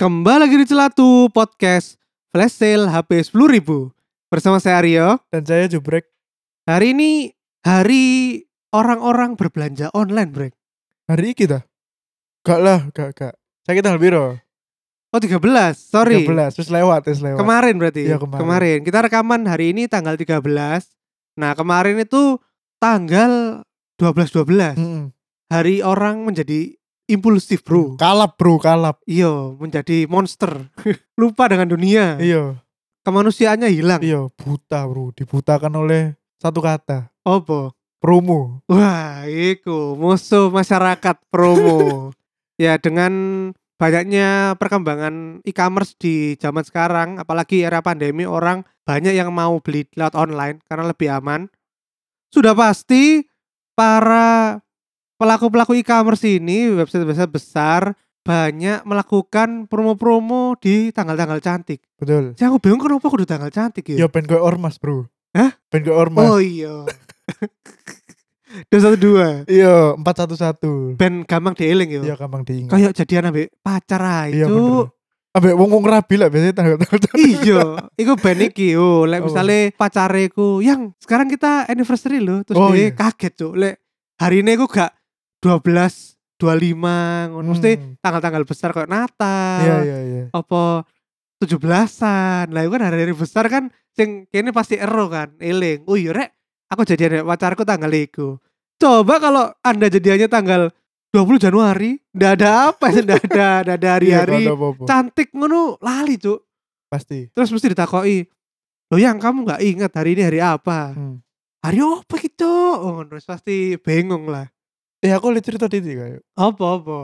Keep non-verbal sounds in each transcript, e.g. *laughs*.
Kembali lagi di Celatu Podcast Flash Sale HP 10.000 Bersama saya Aryo dan saya jubrek Hari ini hari orang-orang berbelanja online Brek hari ini kita gak lah gak gak saya kita biro Oh 13, sorry 13 terus lewat terus lewat Kemarin berarti Iya, kemarin. Kita rekaman hari ini tanggal 13 Nah kemarin itu tanggal 12-12 Mm-mm. Hari orang menjadi impulsif bro kalap bro kalap Iyo menjadi monster *laughs* Lupa dengan dunia iya Kemanusiaannya hilang iya buta bro dibutakan oleh satu kata Opo promo Wah, iku musuh masyarakat promo. ya dengan banyaknya perkembangan e-commerce di zaman sekarang, apalagi era pandemi orang banyak yang mau beli lewat online karena lebih aman. Sudah pasti para pelaku-pelaku e-commerce ini website-website besar banyak melakukan promo-promo di tanggal-tanggal cantik. betul Saya aku bingung kenapa kudu tanggal cantik ya? iya ben koyo ormas bro Hah? ben koyo ormas oh iya. Dosa dua. iya empat satu satu Ben gampang dieling yo. iya gampang diingat kayak gitu. jadian ambek pacar ae iya itu bener ambek wong wong rabi lah biasanya tanggal tanggal iya iku ben iki yo lek Apa? misale pacare ku yang sekarang kita anniversary loh terus Oh, dia iya. kaget cuk lek hari ini ku gak 12 25 ngono mesti *laughs* eh, Hmm. tanggal-tanggal besar kayak Natal iya iya iya apa 17-an lah itu kan hari-hari besar kan sing kene pasti ero kan eling oh iya rek aku jadian ambek pacarku tanggal iku coba kalau anda jadiannya tanggal 20 Januari ndak ada apa *laughs* ndak ada ndak ada Iya, hari-hari gak ada apa-apa. cantik ngono lali cuk pasti terus mesti ditakoi lo yang kamu nggak ingat hari ini hari apa Hmm. hari apa gitu oh, terus pasti bingung lah eh aku lihat cerita titik kayak apa apa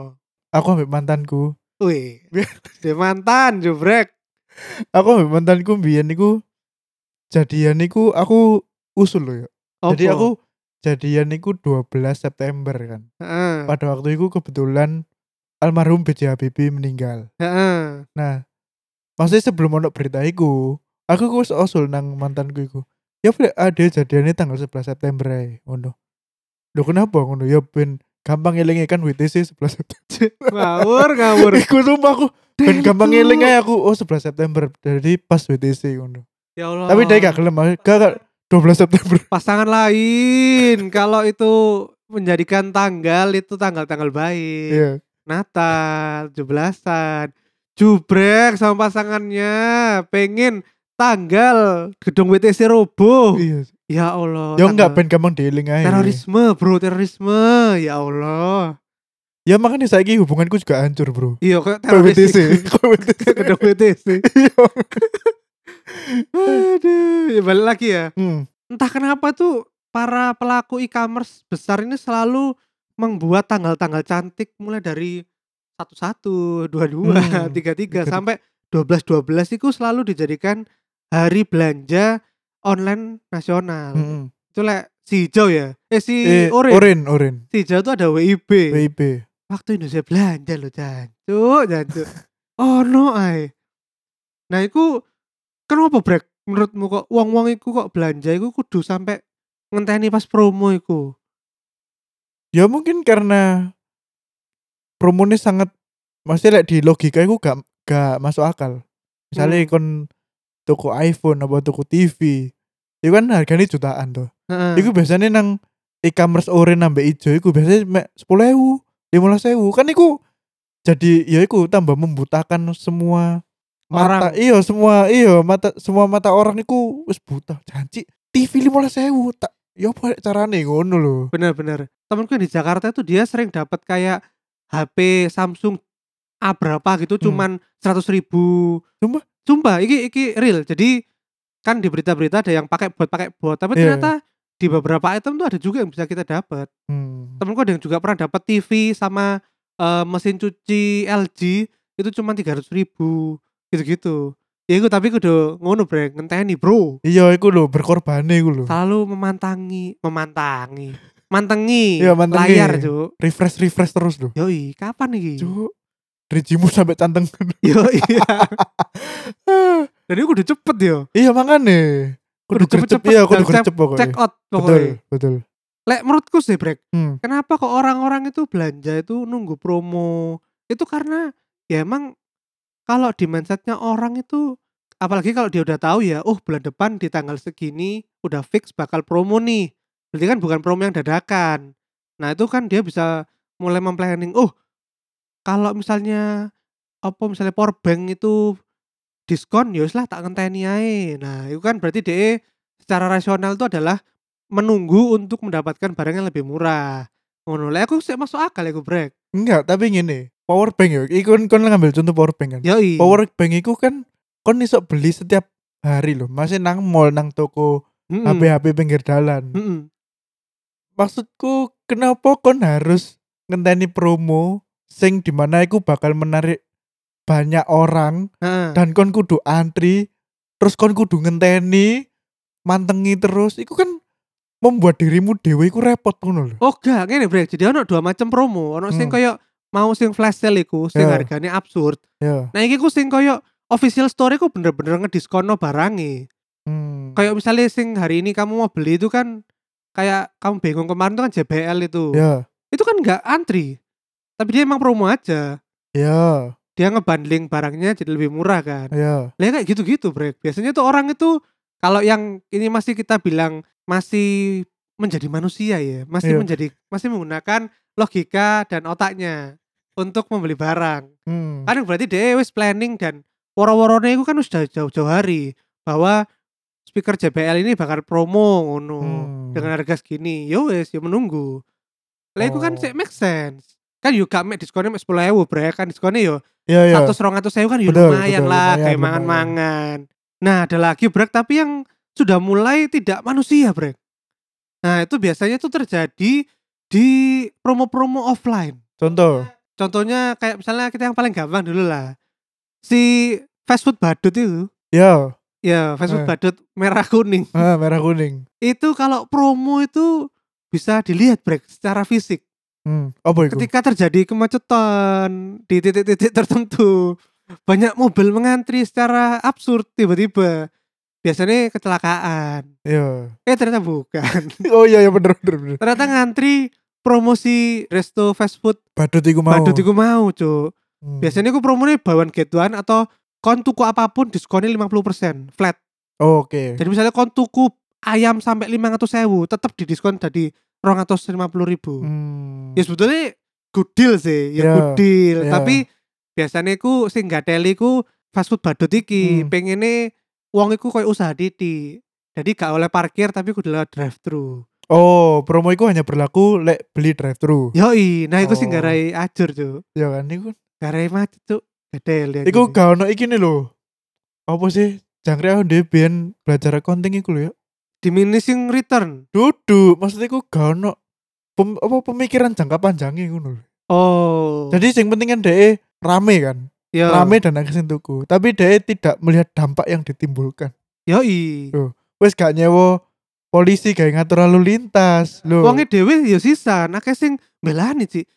aku ambek mantanku wih *laughs* dia mantan jubrek aku ambek mantanku mbiyen niku jadian niku aku usul loh ya. Jadi Apa? aku jadian niku 12 September kan. Heeh, Pada waktu itu kebetulan almarhum B.J. Habibie meninggal. heeh. Nah, maksudnya sebelum ono berita iku, aku ku wis usul nang mantanku iku. Ya boleh ada jadiannya tanggal 11 September ae ngono. Lho kenapa ngono? Ya ben gampang ngelingi kan WTC 11 September. ngawur *laughs* ngawur Iku sumpah aku Dek, ben Cuk. gampang ngeling ae aku oh 11 September. Jadi pas WTC ngono. ya Allah Tapi dia gak gelem, gak, gak 12 September. pasangan lain kalau itu menjadikan tanggal itu tanggal-tanggal baik Iya. Natal, 17-an. Jubrek sama pasangannya pengen tanggal gedung WTC roboh. Iya. Ya Allah. Ya tanggal- enggak ben gampang dieling ae. Terorisme, Bro, terorisme. Ya Allah. Ya makanya saiki hubunganku juga hancur, Bro. Iya, kayak Kau teroris *laughs* WTC. itu. Kau WTC. Kayak gedung WTC. *laughs* Iya. Aduh, ya balik lagi ya. Hmm. Entah kenapa tuh para pelaku e-commerce besar ini selalu membuat tanggal-tanggal cantik mulai dari 11, 22, *laughs* Hmm. 33 sampai 12 12 itu selalu dijadikan hari belanja online nasional. hmm. Itu lek si hijau ya. Eh si Eh, orange. Orin, Orin. Si hijau tuh ada WIB. WIB. Waktu Indonesia belanja loh jancuk, jancuk. oh no ay. Nah iku kenapa brek menurutmu kok wong-wong iku kok belanja iku kudu sampai ngenteni pas promo iku. Ya mungkin karena promonya sangat maksudnya like, di logika itu gak gak masuk akal. Misalnya Hmm. kon toko iPhone apa toko TV. Itu kan harganya jutaan tuh. Heeh. Iku biasanya nang e-commerce orange nambah ijo iku biasanya sepuluh ewu, lima kan iku jadi ya iku tambah membutakan semua mata Orang. iya semua iya mata semua mata orang iku wis buta janji TV lima tak ya apa carane ngono lho Bener-bener. Temenku yang di Jakarta itu dia sering dapat kayak HP Samsung A berapa gitu Hmm. cuman 100.000 ribu. Sumpah? Sumpah, iki iki real. Jadi kan di berita-berita ada yang pakai buat pakai buat, tapi Iya. ternyata di beberapa item tuh ada juga yang bisa kita dapat. hmm. temenku ada yang juga pernah dapat TV sama eh, mesin cuci LG itu cuma tiga ratus ribu gitu-gitu Ya iku tapi kudu ngono brek, ngenteni, Bro. Iya, iku lho berkorban iku lho. Selalu memantangi, memantangi. Mantengi, Iya, mantengi. layar, Cuk. Refresh refresh terus lho. Yoi, kapan iki? Cuk. Rijimu sampai canteng. *laughs* Yoi. *laughs* Dan iku kudu cepet yo. iya makane. Kudu Kudu gercep cepet-cepet iya, kudu dan gercep pokoknya. Check out betul, pokoknya. betul. Lek menurutku sih brek, Hmm. kenapa kok orang-orang itu belanja itu nunggu promo? Itu karena ya emang kalau di mindsetnya orang itu apalagi kalau dia udah tahu ya, oh bulan depan di tanggal segini udah fix bakal promo nih. Berarti kan bukan promo yang dadakan. Nah, itu kan dia bisa mulai memplanning, oh kalau misalnya apa misalnya power bank itu diskon ya wis lah tak ngenteni ae. Nah, itu kan berarti DE secara rasional itu adalah menunggu untuk mendapatkan barang yang lebih murah. Ngono lah aku sih masuk akal aku brek. Enggak, tapi ngene. Power bank yo. Iku kon ngambil contoh power bank kan. Yoi. Power bank iku kan kon iso beli setiap hari loh. Masih nang mall, nang toko, Mm-mm. HP-HP pinggir dalan. Mm-mm. maksudku kenapa kon harus ngenteni promo sing dimana iku bakal menarik banyak orang Heeh. dan kon kudu antri terus kon kudu ngenteni mantengi terus iku kan membuat dirimu dewe iku repot ngono lho Oh enggak, ngene brek. Jadi ono dua macam promo. Ono sing Hmm. koyo mau sing flash sale iku sing Ya. harganya absurd. ya Nah iki ku sing koyo official store iku bener-bener ngediskonno barange. hmm. Kayak misalnya sing hari ini kamu mau beli itu kan kayak kamu bingung kemarin itu kan JBL itu. ya Itu kan enggak antri. Tapi dia emang promo aja. ya Dia ngebundling barangnya jadi lebih murah kan. ya Lah kayak gitu-gitu, Brek. Biasanya tuh orang itu kalau yang ini masih kita bilang masih menjadi manusia ya, masih Iya. menjadi masih menggunakan logika dan otaknya untuk membeli barang. hmm. Kan berarti dia wis planning dan woro-worone itu kan sudah jauh-jauh hari bahwa speaker JBL ini bakal promo ngono Hmm. dengan harga segini. Yo wis, yo menunggu. Lah itu kan Oh. sih make sense. Kan yo gak mek diskonnya mek 10.000, Brek. Kan diskonnya yo ya ya satu serong atau kan ya Betul, lumayan betul, lah lumayan, kayak lumayan. mangan-mangan nah ada lagi brek tapi yang sudah mulai tidak manusia brek nah itu biasanya tuh terjadi di promo-promo offline contoh contohnya kayak misalnya kita yang paling gampang dulu lah si fast food badut itu ya ya fast food Eh. badut merah kuning ah, merah kuning itu kalau promo itu bisa dilihat brek secara fisik hmm. apa iku ketika terjadi kemacetan di titik-titik tertentu banyak mobil mengantri secara absurd tiba-tiba biasanya kecelakaan ya eh ternyata bukan *laughs* oh iya ya bener bener, bener. ternyata ngantri promosi resto fast food badut iku mau badut iku mau cuk Hmm. biasanya aku promonya bawaan getuan atau kon tuku apapun diskonnya 50% flat Oh, oke jadi misalnya kon tuku ayam sampai 500 sewu tetap di diskon jadi 250 ribu Hmm. ya sebetulnya good deal sih ya Ya, good deal ya. tapi biasanya ku sing gak teli ku fast food badut iki Hmm. pengennya uang iku koyo usaha diti jadi gak oleh parkir tapi kudu lewat drive thru Oh, promo itu hanya berlaku lek beli drive thru. yoi nah iku sing Oh. garai ajur cuk Ya kan iku. garai macet cuk gadel ya Iku gak ono iki nih lho. Apa sih? Jangkrik aku dhewe biyen belajar accounting iku lho ya. diminishing return Duduk, maksudnya iku gak ono pem- apa pemikiran jangka panjangnya ngono lho. oh ya. Jadi sing penting kan dhek rame kan. yo. Rame dan akhirnya tuku. Tapi dhek tidak melihat dampak yang ditimbulkan. yoi Duh, Wes gak nyewa polisi gak ngatur lalu lintas. Lho. uangnya dewe yo sisa nah sing belani sih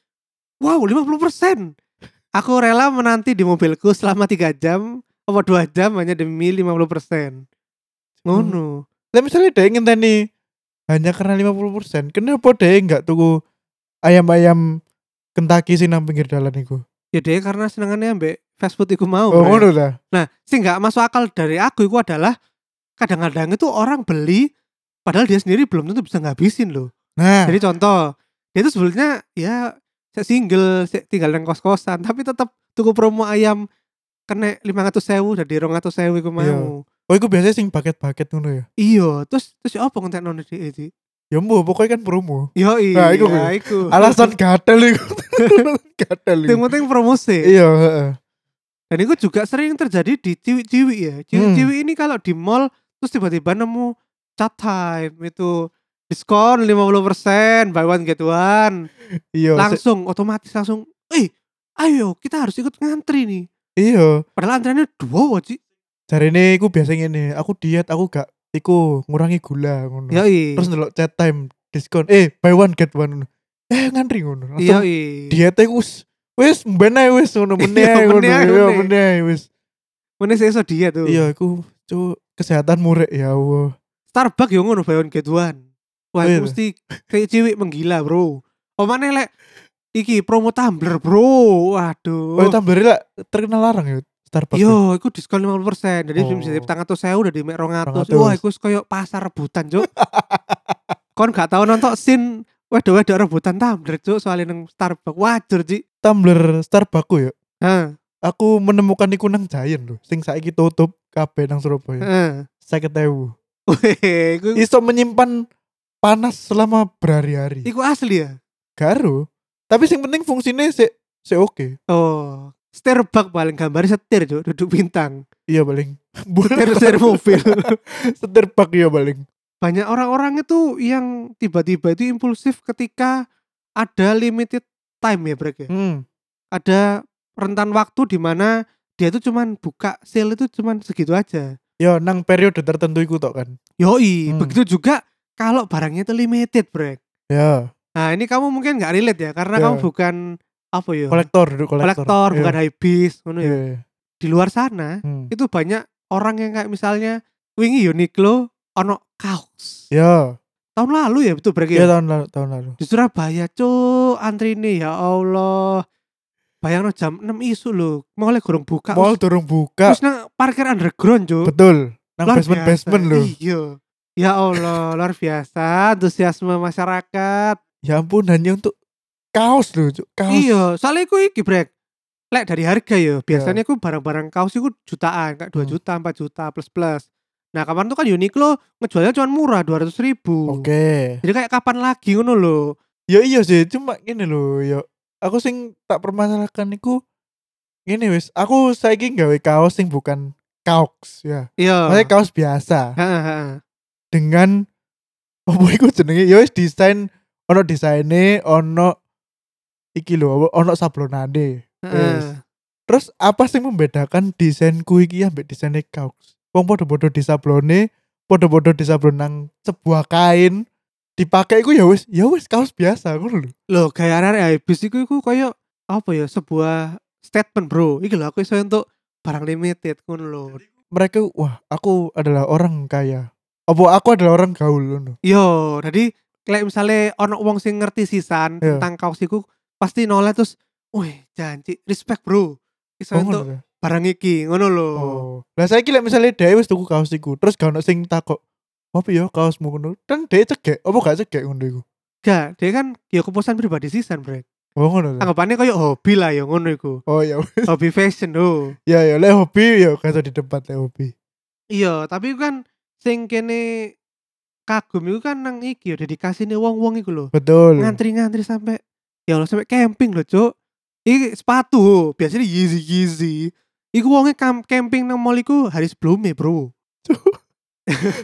wow 50% aku rela menanti di mobilku selama 3 jam apa 2 jam hanya demi 50% Hmm. ngono Lah misalnya dia ngenteni hanya karena 50%, kenapa dia nggak tuku ayam-ayam Kentucky sih nang pinggir jalan iku? ya dewe karena senengannya ambek fast food iku mau Oh, Bre. ngono ta. nah sing nggak masuk akal dari aku itu adalah kadang-kadang itu orang beli padahal dia sendiri belum tentu bisa ngabisin loh Nah, jadi contoh dia itu sebenarnya ya sek single sek tinggal nang kos-kosan tapi tetap tuku promo ayam kena 500 sewu dari 200 sewu iku mau Iya. oh iku biasanya sing paket-paket ngono ya. Iya, terus terus ya apa ngentekno nek dhek iki? Ya mbuh, pokoknya kan *laughs* promo. Yo iya, Nah, iku kuwi. iku. Alasan gatel iku. *laughs* gatel Yang iku. penting promosi. Iya, heeh. Dan itu juga sering terjadi di ciwi-ciwi ya. Ciwi-ciwi Hmm. ini kalau di mall terus tiba-tiba nemu chat time itu diskon 50% buy one get one. Iya, se- Langsung otomatis langsung, "Eh, ayo kita harus ikut ngantri nih." iya. Padahal antriannya dua wajib. Jarene iku biasa ngene, aku diet, aku gak iku ngurangi gula ngono. Yoi. Iya. Terus ndelok chat time diskon. Eh, buy one get one. ngono. Eh, ngantri ngono. Langsung Yoi. diete ku wis wis mbenah wis ngono meneh Iya, ngono meneh, iya meneh. meneh wis Mana sih iso diet tuh. iya aku cu kesehatan murek ya Allah Starbucks yo ngono bayon get one. Wah, Oh, itu iya. mesti kayak ciwik menggila, Bro. Omane lek iki promo tumbler, Bro. oh, Waduh. tambah lah terkenal larang ya Starbucks ya. Yo, iku diskon 50%. Jadi Oh. bisa tangan tuh saya udah di mek 200. 200. Wah, iku wis koyo pasar rebutan, *laughs* Cuk. Kon gak tau nonton sin wedok-wedok rebutan tumbler, Cuk, soalnya nang Starbucks. Wajar, Ji. tumbler Starbucks ya Heeh. aku menemukan iku nang Giant lho sing saiki tutup kabeh nang Surabaya Heeh. saya ketahui Weh, iku iso menyimpan panas selama berhari-hari iku asli ya. garu tapi sing penting fungsinya se se oke Oh, Starbucks paling gambarnya setir, Cuk, duduk bintang. iya paling Setir setir *laughs* mobil. Starbucks ya paling banyak orang-orang itu yang tiba-tiba itu impulsif ketika ada limited time ya Brek ya. hmm. Ada rentan waktu di mana dia itu cuman buka sale itu cuman segitu aja. yo Iya, nang periode tertentu iku tok kan Yoi, Hmm. begitu juga kalau barangnya itu limited Brek. ya Nah ini kamu mungkin nggak relate ya karena Ya. kamu bukan apa ya kolektor duduk kolektor kolektor, Iya. bukan high beast, ngono ya. Iya, iya. Di luar sana Hmm. itu banyak orang yang kayak misalnya wingi Uniqlo ono kaos. Ya, Tahun lalu ya betul Brek ya. ya tahun lalu, tahun lalu. di Surabaya cuk antri ini ya Allah bayangno jam 6 isu lho mulai gorong buka Mall terus, turun buka, terus nang parkir underground cuk betul. Nang Luar basement basement biasa. lho. iya ya Allah luar biasa antusiasme masyarakat Ya ampun hanya untuk kaos lho, Cuk. kaos. Iya. iya soalnya aku iki brek lek dari harga ya biasanya aku barang-barang kaos itu jutaan kayak 2 Hmm. juta 4 juta plus plus nah kemarin tuh kan Uniqlo ngejualnya cuma murah 200 ribu Oke. jadi kayak kapan lagi ngono loh Ya iya sih, cuma gini lho, ya aku sing tak permasalahkan iku ngene wis, aku saiki gawe kaos sing bukan kaos ya. iya Maksudnya kaos biasa Heeh, heeh. dengan apa iku jenenge? Ya wis desain ono desaine, ono iki lho, apa, ono sablonane. Heeh. Terus apa sih membedakan desainku iki ambek desainnya Kaux? Wong podo-podo di sablone, podo-podo di sablon nang sebuah kain dipakai iku ya wis, ya wis kaos biasa ngono lho. Loh, kayak arek habis iku iku koyo apa ya sebuah statement, Bro. Iki lho aku iso untuk barang limited ngono lho. Mereka wah, aku adalah orang kaya. Apa aku adalah orang gaul ngono. Yo, jadi kayak misalnya ono wong sing ngerti sisan Iya. tentang kaos iku pasti noleh terus, "Wih, janji, respect, Bro." Iso Oh, untuk ngono ta? barang iki ngono lho. Oh. Lah saiki lek misale dhewe wis tuku kaos iku, terus gak ono sing takok, "Apa ya kaosmu ngono?" Dan dhewe cegek, apa gak cegek ngono iku? Gak, dia kan ya kepuasan pribadi sisan, Bro. Oh ngono. ta? Anggapannya koyo hobi lah ya ngono iku. Oh ya, wis. hobi fashion oh. ya ya lek hobi ya kata di debat lek hobi. Iya, tapi kan sing kene kagum iku kan nang iki ya dedikasine wong-wong iku lho. Betul. ngantri-ngantri sampai ya Allah sampai camping loh cuk ini sepatu biasanya Yeezy Yeezy Iku wongnya kam- camping nang mall iku hari sebelumnya *laughs* bro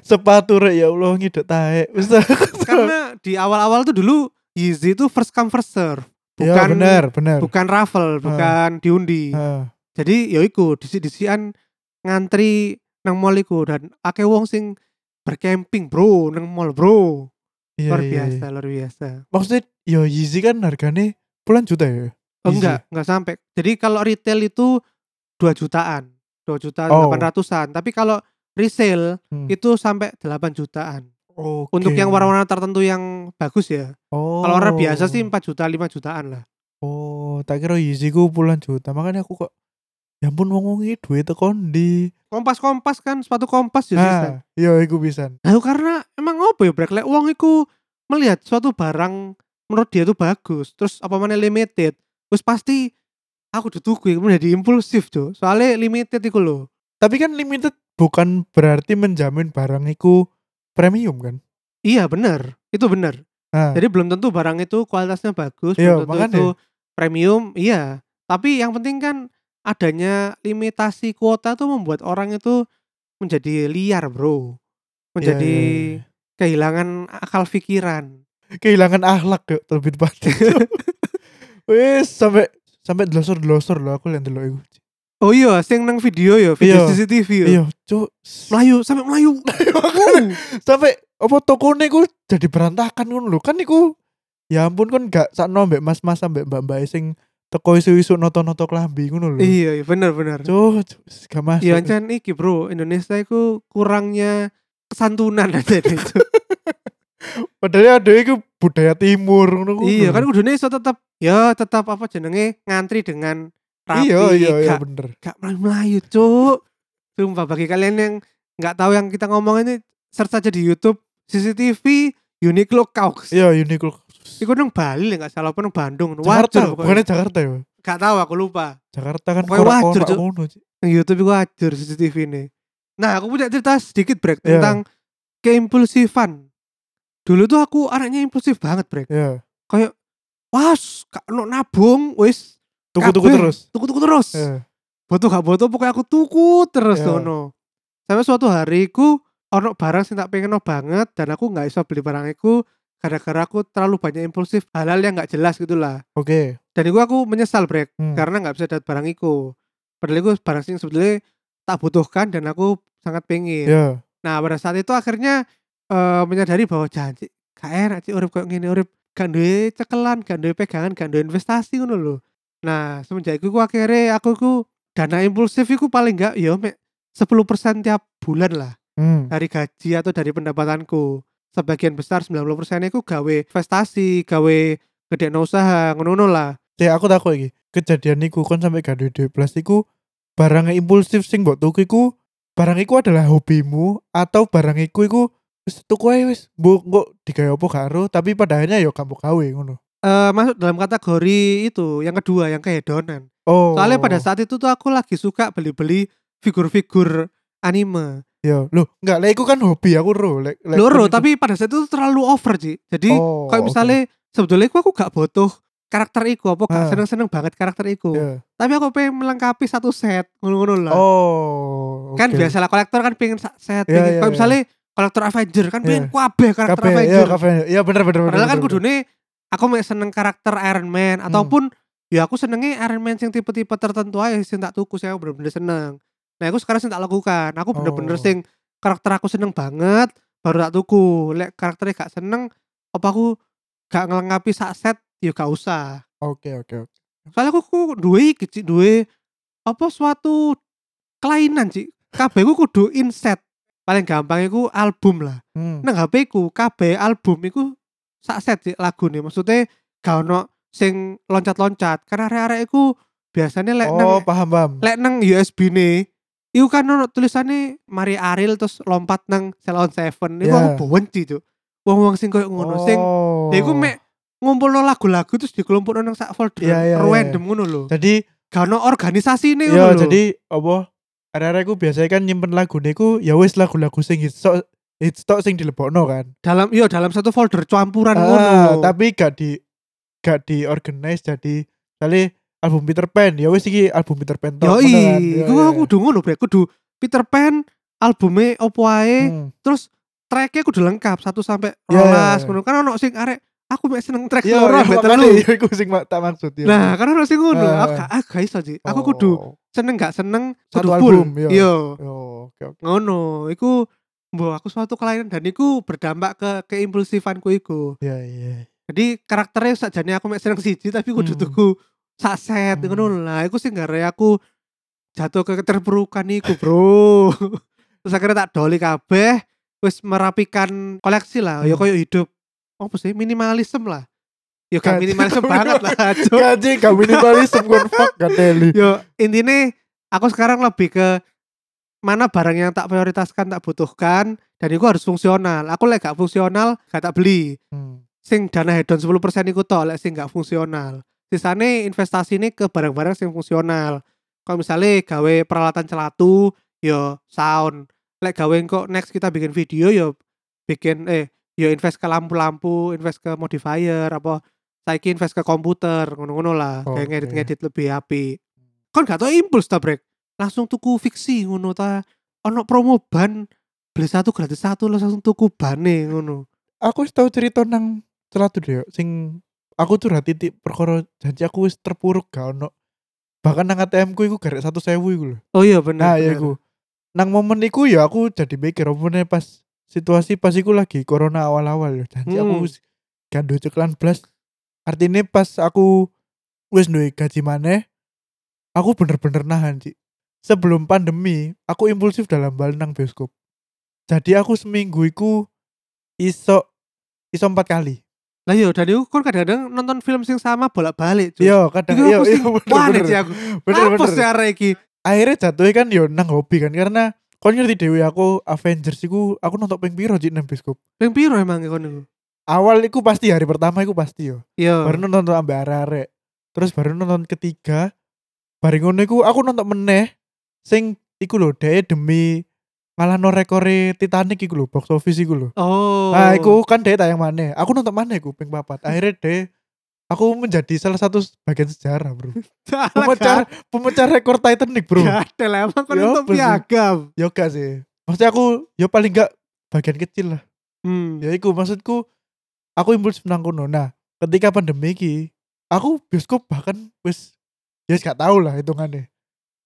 sepatu rek ya Allah ngidek taek. Wis ta. Karena di awal-awal tuh dulu Yeezy itu first come first serve Ya Bukan- benar, benar. Bukan raffle, bukan diundi Ah, Jadi ya iku disi-disian ngantri nang mall iku Dan ake wong sing bercamping bro nang mall bro iya, Luar iya, biasa, iya. luar biasa Maksudnya ya Yeezy kan harganya puluhan juta ya. Oh, Easy. enggak, enggak sampai. Jadi kalau retail itu 2 jutaan. 2 juta Oh. 800-an. Tapi kalau resale Hmm. itu sampai 8 jutaan. Oke. Untuk yang warna-warna tertentu yang bagus ya. Oh. Kalau warna biasa sih 4 juta, 5 jutaan lah. Oh, tak kira Yeezy ku puluhan juta. Makanya aku kok ya ampun wong wongi duit tekon di. Kompas-kompas kan, sepatu kompas ya sisan. Ah, iya iku pisan. Nah, karena emang apa ya, Brek? Lek wong iku melihat suatu barang menurut dia itu bagus, terus apa mana limited, terus pasti aku ditunggu menjadi impulsif, Cuk. Soalnya limited iku loh. Tapi kan limited bukan berarti menjamin barang iku premium kan. Iya, bener. Itu bener. Ah, Jadi belum tentu barang itu kualitasnya bagus, Iya, belum tentu makanya. itu premium, iya. Tapi yang penting kan adanya limitasi kuota tuh membuat orang itu menjadi liar, Bro. iya, Menjadi iya, iya. kehilangan akal pikiran. kehilangan akhlak yuk lebih *laughs* tepatnya wes sampai sampai delosor delosor loh aku lihat dulu itu Oh iya, sing nang video ya, video Iya. CCTV ya. Iya, cuk. Melayu, sampai *laughs* melayu. Wow. Sampai apa tokone ku jadi berantakan ngono lho. Kan iku ya ampun kan gak sakno mbek mas-mas sampe mbak-mbak sing teko isu-isu noto-noto klambi ngono lho. iya, iya, bener bener. Cuk, cuk, gak masuk. Iya, kan iki bro, Indonesia itu kurangnya kesantunan *laughs* aja deh. Cuk. Padahal ada iku budaya timur ngono ku iya, lho. kan kudune iso tetap ya tetap apa jenenge ngantri dengan rapi. Iya, iya, iya gak, bener. gak melayu, cuk. Sumpah bagi kalian yang nggak tahu yang kita ngomongin ini search aja di YouTube CCTV Uniqlo Kaux. Iya, Uniqlo. Iku nang Bali lek nggak salah apa nang Bandung. Jakarta, Wajar pokoknya. bukannya Jakarta ya. Gak tahu aku lupa. Jakarta kan Pokoknya korak-korak wajar, Cuk. ngono, Cuk. Nang YouTube iku wajar CCTV ini. Nah, aku punya cerita sedikit break Iya. tentang keimpulsifan. Dulu tuh aku anaknya impulsif banget, Brek. Iya. Was, gak ono nabung, wis Tuku-tuku Kabeh. terus. tuku-tuku terus. Iya. Butuh gak butuh pokoknya aku tuku terus Iya. ono. Sampai suatu hari ku ono barang sing tak pengen banget dan aku nggak bisa beli barang itu gara-gara aku terlalu banyak impulsif halal yang nggak jelas gitulah. Oke. Dan itu aku menyesal, Brek. Hmm. karena nggak bisa dapat barang iku padahal iku barang sing sebetulnya tak butuhkan dan aku sangat pengen Iya. nah pada saat itu akhirnya eh, menyadari bahwa janji gak enak sih urip kayak gini urip gak duwe cekelan gak duwe pegangan gak duwe investasi ngono lho nah semenjak itu aku akhirnya aku ku dana impulsif iku paling gak ya mek 10% tiap bulan lah Hmm. dari gaji atau dari pendapatanku sebagian besar 90% itu gawe investasi gawe gede usaha ngono lah Cek aku takut iki. Kejadian niku kon sampai gak duwe duit plus iku barang impulsif sing mbok tuku iku barang iku adalah hobimu atau barang iku iku wis tuku ae wis mbok mbok digawe apa karo tapi pada akhirnya yo kamu gawe ngono. eh masuk dalam kategori itu yang kedua yang kehedonan. Oh. Soalnya pada saat itu tuh aku lagi suka beli-beli figur-figur anime. yo lho enggak lek iku kan hobi aku ro lek lek- Loro iku- tapi pada saat itu terlalu over sih. Jadi Oh, kalau oke. misalnya sebetulnya aku, aku gak butuh karakter iku apa gak Ah. seneng-seneng banget karakter iku. Iya. Tapi aku pengen melengkapi satu set ngono-ngono lah. Oh. Kan oke. biasalah kolektor kan pengen sa- set. Iya, pengen- iya, kalau iya. misalnya kolektor Avenger kan pengen Iya. kabeh karakter Kabeh, iya, Avenger. kabeh. Iya bener bener bener. Padahal kan bener, bener. kudune aku mek seneng karakter Iron Man ataupun ya aku senengnya Iron Man sing tipe-tipe tertentu aja sing tak tuku sing aku bener-bener seneng. Nah, aku sekarang sing tak lakukan. Aku bener-bener Oh. sing karakter aku seneng banget baru tak tuku. Lek karakternya gak seneng apa aku gak ngelengkapi sak set ya gak usah. Oke oke oke. Soalnya aku, aku duwe iki, Cik, duwe apa suatu kelainan sih. Kabeh ku kudu inset. Paling gampang iku album lah Hmm. nang HP ku kabeh album iku sak set sih lagu nih maksudnya gak ono sing loncat-loncat karena arek-arek iku biasanya lek nang Oh, paham paham. lek nang USB nih iku kan ono tulisannya Mari Ariel terus lompat nang Cell on Seven iku Ya. aku benci tuh wong-wong sing koyo ngono sing Oh. dia iku mek ngumpul lagu-lagu terus dikelompokno nang sak folder Iya, iya, iya. random ngono lho Jadi gak ono organisasi nih Iya, lho. jadi apa? Arek-arek ku biasanya kan nyimpen lagu niku ya wis lagu-lagu sing hits tok hits tok sing dilebokno kan. dalam iya dalam satu folder campuran Kan ngono Ah, tapi gak di gak di organize jadi kali album Peter Pan ya wis iki album Peter Pan Yoi, tok. ngono kan. Iya, iku iya, aku kudu ngono brek, kudu Peter Pan albume opo iya. ae, Hmm. terus tracknya kudu lengkap 1 sampai Iya, 12 iya, ngono. Kan ono sing arek aku mek seneng track Iya, loro iya, mbek makanya telu. iya, *laughs* iku sing mak- tak maksud ya. Nah, kan ono sing ngono. Ah. Aku gak aku gak iso sih. Aku kudu seneng gak seneng Oh. Satu kudu full. album, iya. Iya, Oh, oke oke. ngono. Iku mbok aku suatu kelainan dan iku berdampak ke keimpulsifanku iku. Iya, iya. Jadi karakternya sakjane aku mek seneng siji tapi kudu Hmm. tuku sak set Hmm. ngono lah. Iku sing gara aku jatuh ke keterpurukan iku, *laughs* Bro. Terus akhirnya tak doli kabeh, wis merapikan koleksi lah, ya Hmm. koyo hidup. Apa sih minimalisme lah. Ya gak Gak- minimalisme banget *laughs* lah, Cuk. Gaji gak minimalism kon fuck gak teli. Yo intinya aku sekarang lebih ke mana barang yang tak prioritaskan, tak butuhkan dan itu harus fungsional. Aku lek gak fungsional, gak tak beli. Hmm. sing dana hedon 10% iku tok lek sing gak fungsional. Sisane investasi ini ke barang-barang sing fungsional. Kalau misalnya gawe peralatan celatu, yo sound. Lek gawe kok next kita bikin video yo bikin eh yo invest ke lampu-lampu, invest ke modifier apa saiki invest ke komputer ngono-ngono lah. Kayak Oke. ngedit-ngedit lebih api. Kon gak tau impuls ta, Brek? Langsung tuku fiksi ngono ta. Ono promo ban beli satu gratis satu langsung tuku bane ngono. aku wis tau cerita nang celatu deh sing aku curhat titik perkara janji aku wis terpuruk gak ono bahkan nang ATM ku iku garek 100.000 iku lho. Oh iya bener. Nah, bener. ya iku. Nang momen iku ya aku jadi mikir opone pas situasi pas iku lagi corona awal-awal ya. Janji aku Hmm. wis gak duwe ceklan blas. Artinya pas aku wis duwe gaji maneh, aku bener-bener nahan, Cik. Sebelum pandemi, aku impulsif dalam hal nang bioskop. Jadi aku seminggu iku iso iso empat kali. Lah iya dan iku kon kadang-kadang nonton film sing sama bolak-balik. cuy. Yo, Iya, kadang Iku yo, aku sing yo, Wah, bener-bener. aku. Bener-bener. Apa sih arek iki? akhirnya jatuhnya kan yo nang hobi kan karena kau ngerti dewi aku Avengers iku aku nonton ping piro cik nang bioskop Ping piro emang kon niku? awal iku pasti hari pertama iku pasti yo Iya. baru nonton ambe arek terus baru nonton ketiga bareng ngono iku aku nonton meneh sing iku lho dhek demi malah no rekore Titanic iku lho box office iku lho Oh. nah iku kan dhek tayang maneh aku nonton maneh iku ping papat akhirnya dhek aku menjadi salah satu bagian sejarah bro pemecah Pemecah. pemecah rekor Titanic bro Ya, ada lah emang kon Ya, itu apa sih? piagam. Ya gak sih. Maksudnya aku ya paling gak bagian kecil lah. Hmm. Ya iku maksudku aku impulsif nang kono. Nah, ketika pandemi iki aku bioskop bahkan wis ya wis gak tau lah hitungannya.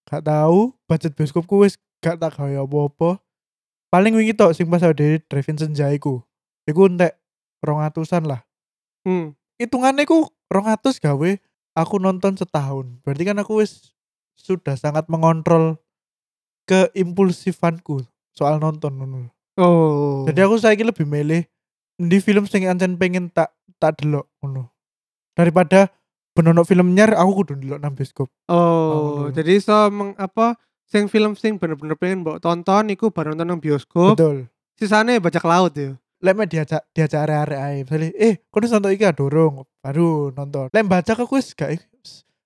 Gak tau budget bioskopku wis gak tak gawe apa-apa. Paling wingi tok sing pas ada drive-in senja iku. Iku entek 200-an lah. Hmm. Hitungannya ku 200 gawe aku nonton setahun. Berarti kan aku wis sudah sangat mengontrol keimpulsifanku soal nonton ngono lho. Oh. Jadi aku saiki lebih milih di film sing ancen pengen tak tak delok ngono. Daripada benono film nyar aku kudu delok nang bioskop. Oh, ngono. jadi iso meng, apa sing film sing bener-bener pengen mbok tonton iku bar nonton nang bioskop, Betul. sisane bajak laut ya. Lek me diajak diajak arek-arek ae. Misale, eh, kono nonton iki ah, dorong, baru nonton. Lek baca aku wis gak wis-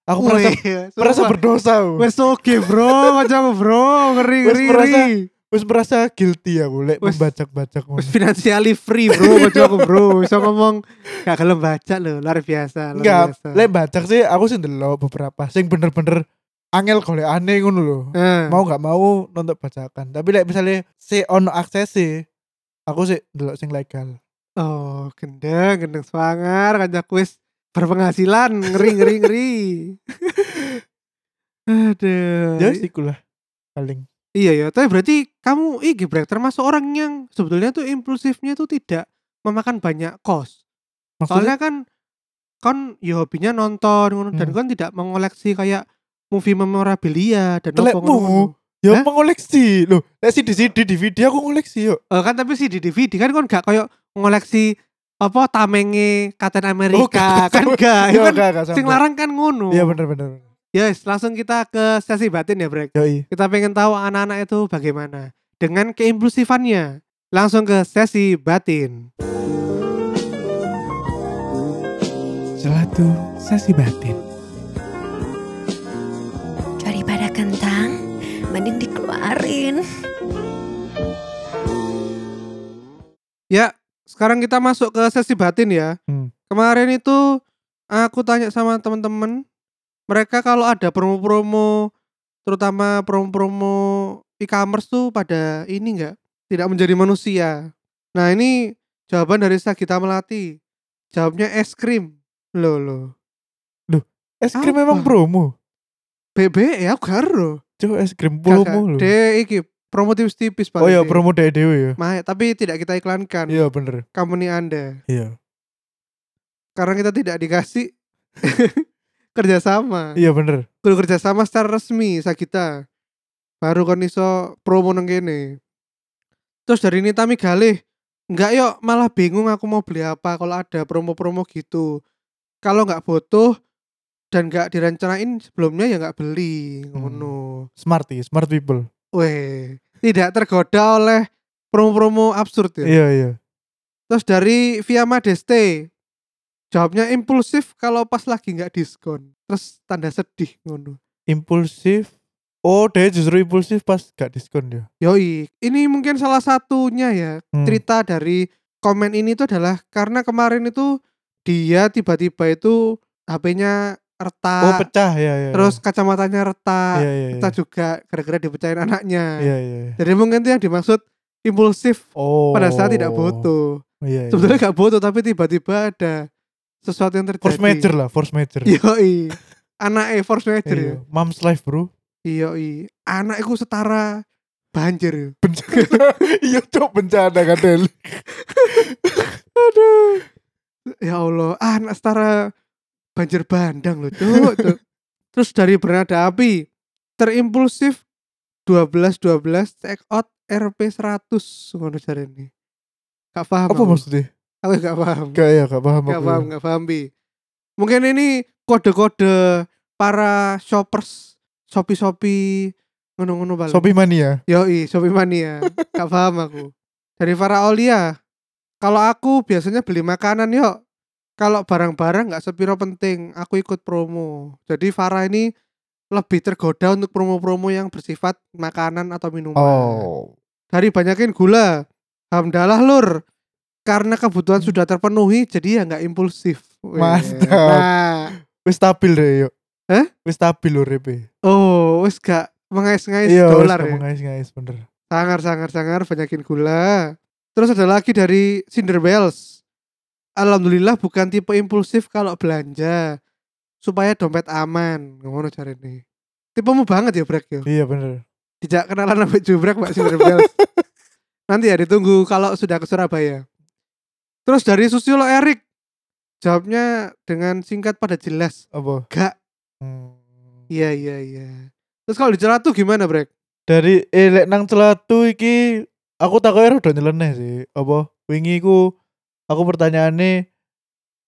aku merasa Weh, merasa sumpah. berdosa. aku. Wes oke bro, macam bro, ngeri Wes ngeri. merasa- ngeri. Wes merasa guilty aku lek Wes- membajak-bajak Wes ngono. financially free bro, *laughs* macam aku bro. Bisa ngomong gak gelem baca loh, luar biasa. Luar Enggak, biasa. lek bajak sih aku sih ndelok beberapa sing bener-bener angel golekane ngono lho. Eh, mau nggak mau nonton bajakan tapi like misalnya si ono akses sih aku sih delok sing legal Oh, gendeng, gendeng swangar, kanca kuis berpenghasilan, ngeri ngeri ngeri. *laughs* Aduh. ya sih lah paling Iya ya, tapi berarti kamu iki break termasuk orang yang sebetulnya tuh impulsifnya tuh tidak memakan banyak kos. Soalnya maksudnya kan kon ya hobinya nonton ngono, dan Hmm. kon tidak mengoleksi kayak movie memorabilia dan Telekmu. ngono-ngono. ya Hah? mengoleksi loh lek si CD DVD aku ngoleksi yuk Eh, kan tapi sih di DVD kan kon gak kayak ngoleksi apa tamenge Captain Oh, America gak. kan *laughs* gak. Ya yo kan gak gak sing sampai larang kan ngono. iya bener bener Yes, langsung kita ke sesi batin ya, Brek. yoi Kita pengen tahu anak-anak itu bagaimana dengan keimpulsifannya. Langsung ke sesi batin. selatu sasi batin Daripada kentang, mending dikeluarin. Ya, sekarang kita masuk ke sesi batin ya. Hmm. Kemarin itu aku tanya sama teman-teman, mereka kalau ada promo-promo terutama promo-promo e-commerce tuh pada ini enggak tidak menjadi manusia. Nah, ini jawaban dari Sagita Melati. Jawabnya es krim. Loh, loh. es krim Apa? memang promo BB ya karo. Cuk es krim promo Kakak, lho De iki promo tipis-tipis Pak. oh ya De. promo dari dewe ya Mahal, tapi tidak kita iklankan iya bener company Anda iya karena kita tidak dikasih *laughs* kerjasama. iya bener Kudu kerjasama secara resmi Sagita. Baru kon iso promo nang kene. Terus dari Nita Migalih, enggak yuk malah bingung aku mau beli apa kalau ada promo-promo gitu. Kalau enggak butuh dan enggak direncanain sebelumnya ya enggak beli Hmm. ngono. smart ya smart people Weh, tidak tergoda oleh promo-promo absurd ya. iya iya Terus dari Via Madeste, jawabnya impulsif kalau pas lagi nggak diskon. Terus tanda sedih ngono. impulsif oh dia justru impulsif pas gak diskon ya Yoi, ini mungkin salah satunya ya Hmm. cerita dari komen ini itu adalah karena kemarin itu dia tiba-tiba itu HP-nya retak, Oh pecah ya ya. terus kacamatanya retak, ya, ya, ya. retak juga gara-gara dipecahin anaknya. Iya, iya, iya. Jadi mungkin itu yang dimaksud impulsif Oh. pada saat tidak butuh. Iya. iya. sebetulnya gak butuh tapi tiba-tiba ada sesuatu yang terjadi force major lah, force major. Yoi. anak e force Iya, major ya. Iya. Mom's life *laughs* bro. Iya iya. Anak iku setara banjir ya. Iya cok bencana kan *laughs* Del. Ya Allah, anak setara banjir bandang loh, Cuk, *laughs* Cuk. Terus dari Bernada Api, terimpulsif 12 12 check out RP 100 ngono jarene. Gak paham. Apa aku. maksudnya? Aku gak paham. Gak ya gak paham. Gak aku. paham, gak paham, Bi. Mungkin ini kode-kode para shoppers, Shopee-Shopee ngono-ngono balik. Shopee ya? mania. Yoi, Shopee Mania. Gak paham aku. Dari Farah Olia. Kalau aku biasanya beli makanan yuk. Kalau barang-barang nggak sepiro penting, aku ikut promo. Jadi Farah ini lebih tergoda untuk promo-promo yang bersifat makanan atau minuman. Oh. Dari banyakin gula. Alhamdulillah lur. Karena kebutuhan Hmm. sudah terpenuhi, jadi ya nggak impulsif. Weh, Mantap. nah. Wis stabil deh yuk. Hah? Wis stabil lho Repe. oh, wes gak mengais-ngais Iya, wis dolar ya. kamu ngais-ngais bener. Sangar, sangar, sangar, banyakin gula. Terus ada lagi dari Cinderbells. Alhamdulillah bukan tipe impulsif kalau belanja. Supaya dompet aman. Ngono cari ini. Tipemu banget ya Brek ya. Iya bener. Tidak kenalan sampai jubrek Mbak Cinderbells. Nanti ya ditunggu kalau sudah ke Surabaya. Terus dari Susilo Erik. Jawabnya dengan singkat pada jelas. Apa? Gak. Hmm. Iya, iya, iya. Terus kalau dicelah tuh gimana Brek? dari eh lek nang celatu iki aku takoknya rada nyeleneh sih apa wingi ku aku pertanyaannya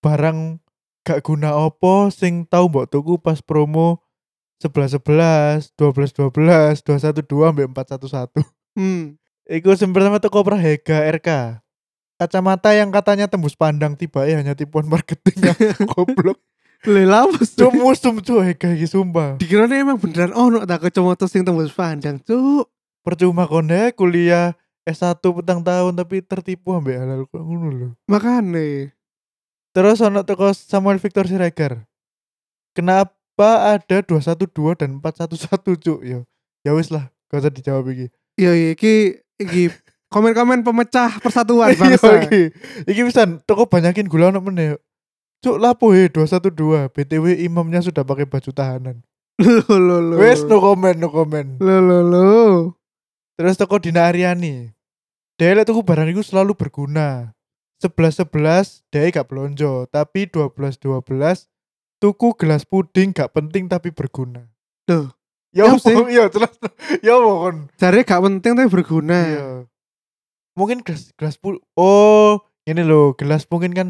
barang gak guna apa sing tau mbok tuku pas promo 11 11 12 12 212 ambek 411 Hmm. Iku sing pertama tuh Kopra Hega RK kacamata yang katanya tembus pandang tiba ya hanya tipuan marketing *laughs* yang goblok Lelah apa sih? cuk musuh cuk Hega iki sumpah dikira nih emang beneran oh, ono tak kacamata sing tembus pandang cuk percuma konde kuliah S1 petang tahun tapi tertipu ambek halal kok ngono lho. makane Terus ono teko Samuel Victor Siregar. Kenapa ada 212 dan 411 cuk ya? Ya wis lah, gak usah dijawab iki. yo Iya, iki iki komen-komen pemecah *laughs* persatuan Iya, bangsa iki. Iki pisan teko banyakin gula ono meneh. yuk. Cuk lapo he 212. BTW imamnya sudah pakai baju tahanan. lo lo lo Wes no comment, no comment. lo lo lo Terus toko Dina Ariani. Dia lek tuku barang iku selalu berguna. 11-11 dia gak belonjo, tapi 12-12 tuku gelas puding gak penting tapi berguna. Duh. Ya Ya apa? sih. Iya jelas. Ya apa kon? cari gak penting tapi berguna Iya. Mungkin gelas gelas pu Oh, ini loh, gelas mungkin kan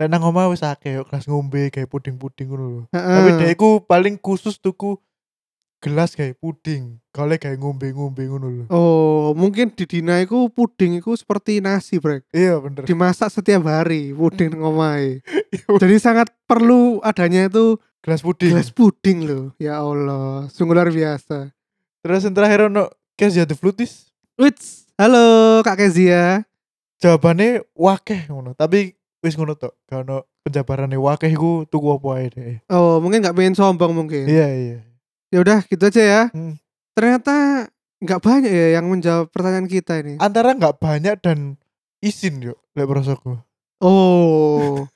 lek nang omah wis akeh yuk, gelas ngombe kayak puding-puding ngono lho. Heeh. Tapi dia iku paling khusus tuku gelas kayak puding, kalau kayak ngombe-ngombe ngono lho. oh mungkin di Dina iku puding iku seperti nasi brek Iya bener. dimasak setiap hari puding *laughs* ngomai Iya, jadi sangat perlu adanya itu gelas puding. gelas puding loh ya Allah sungguh luar biasa Terus yang terakhir ono Kezia the Flutis. Wits halo Kak Kezia Jawabannya wakeh ngono, tapi wis ngono tok. Gak ono penjabarannya wakeh ku tuku apa ae deh. oh mungkin gak pengen sombong mungkin Iya iya. ya udah gitu aja ya Hmm. ternyata nggak banyak ya yang menjawab pertanyaan kita ini Antara nggak banyak dan izin yuk lek prosoku. *laughs* oh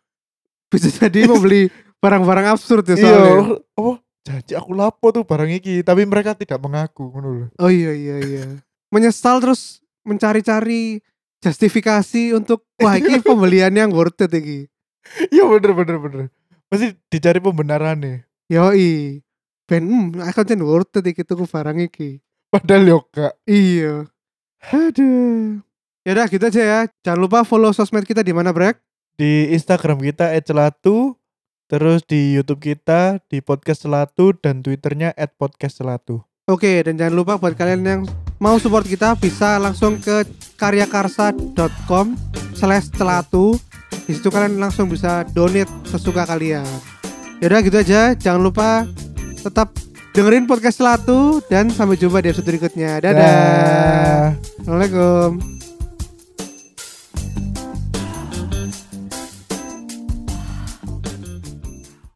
bisa jadi mau beli barang-barang absurd ya soalnya Iya. Oh, janji aku lapo tuh barang iki, tapi mereka tidak mengaku ngono lho. oh iya iya iya menyesal terus mencari-cari justifikasi untuk wah *laughs* ini pembelian yang worth it iki *laughs* Iya bener bener bener. Mesti dicari pembenaran nih. yoi ben hmm, aku kan worth it iki tuku barang iki Padahal yo gak. iya aduh ya udah gitu aja ya jangan lupa follow sosmed kita di mana Brek Di Instagram kita @celatu, terus di YouTube kita di podcast celatu dan Twitternya @podcastcelatu. Oke, dan jangan lupa buat kalian yang mau support kita bisa langsung ke karyakarsa.com slash celatu. Di situ kalian langsung bisa donate sesuka kalian. Yaudah gitu aja, jangan lupa tetap dengerin podcast celatu dan sampai jumpa di episode berikutnya. Dadah. Dadah. Assalamualaikum.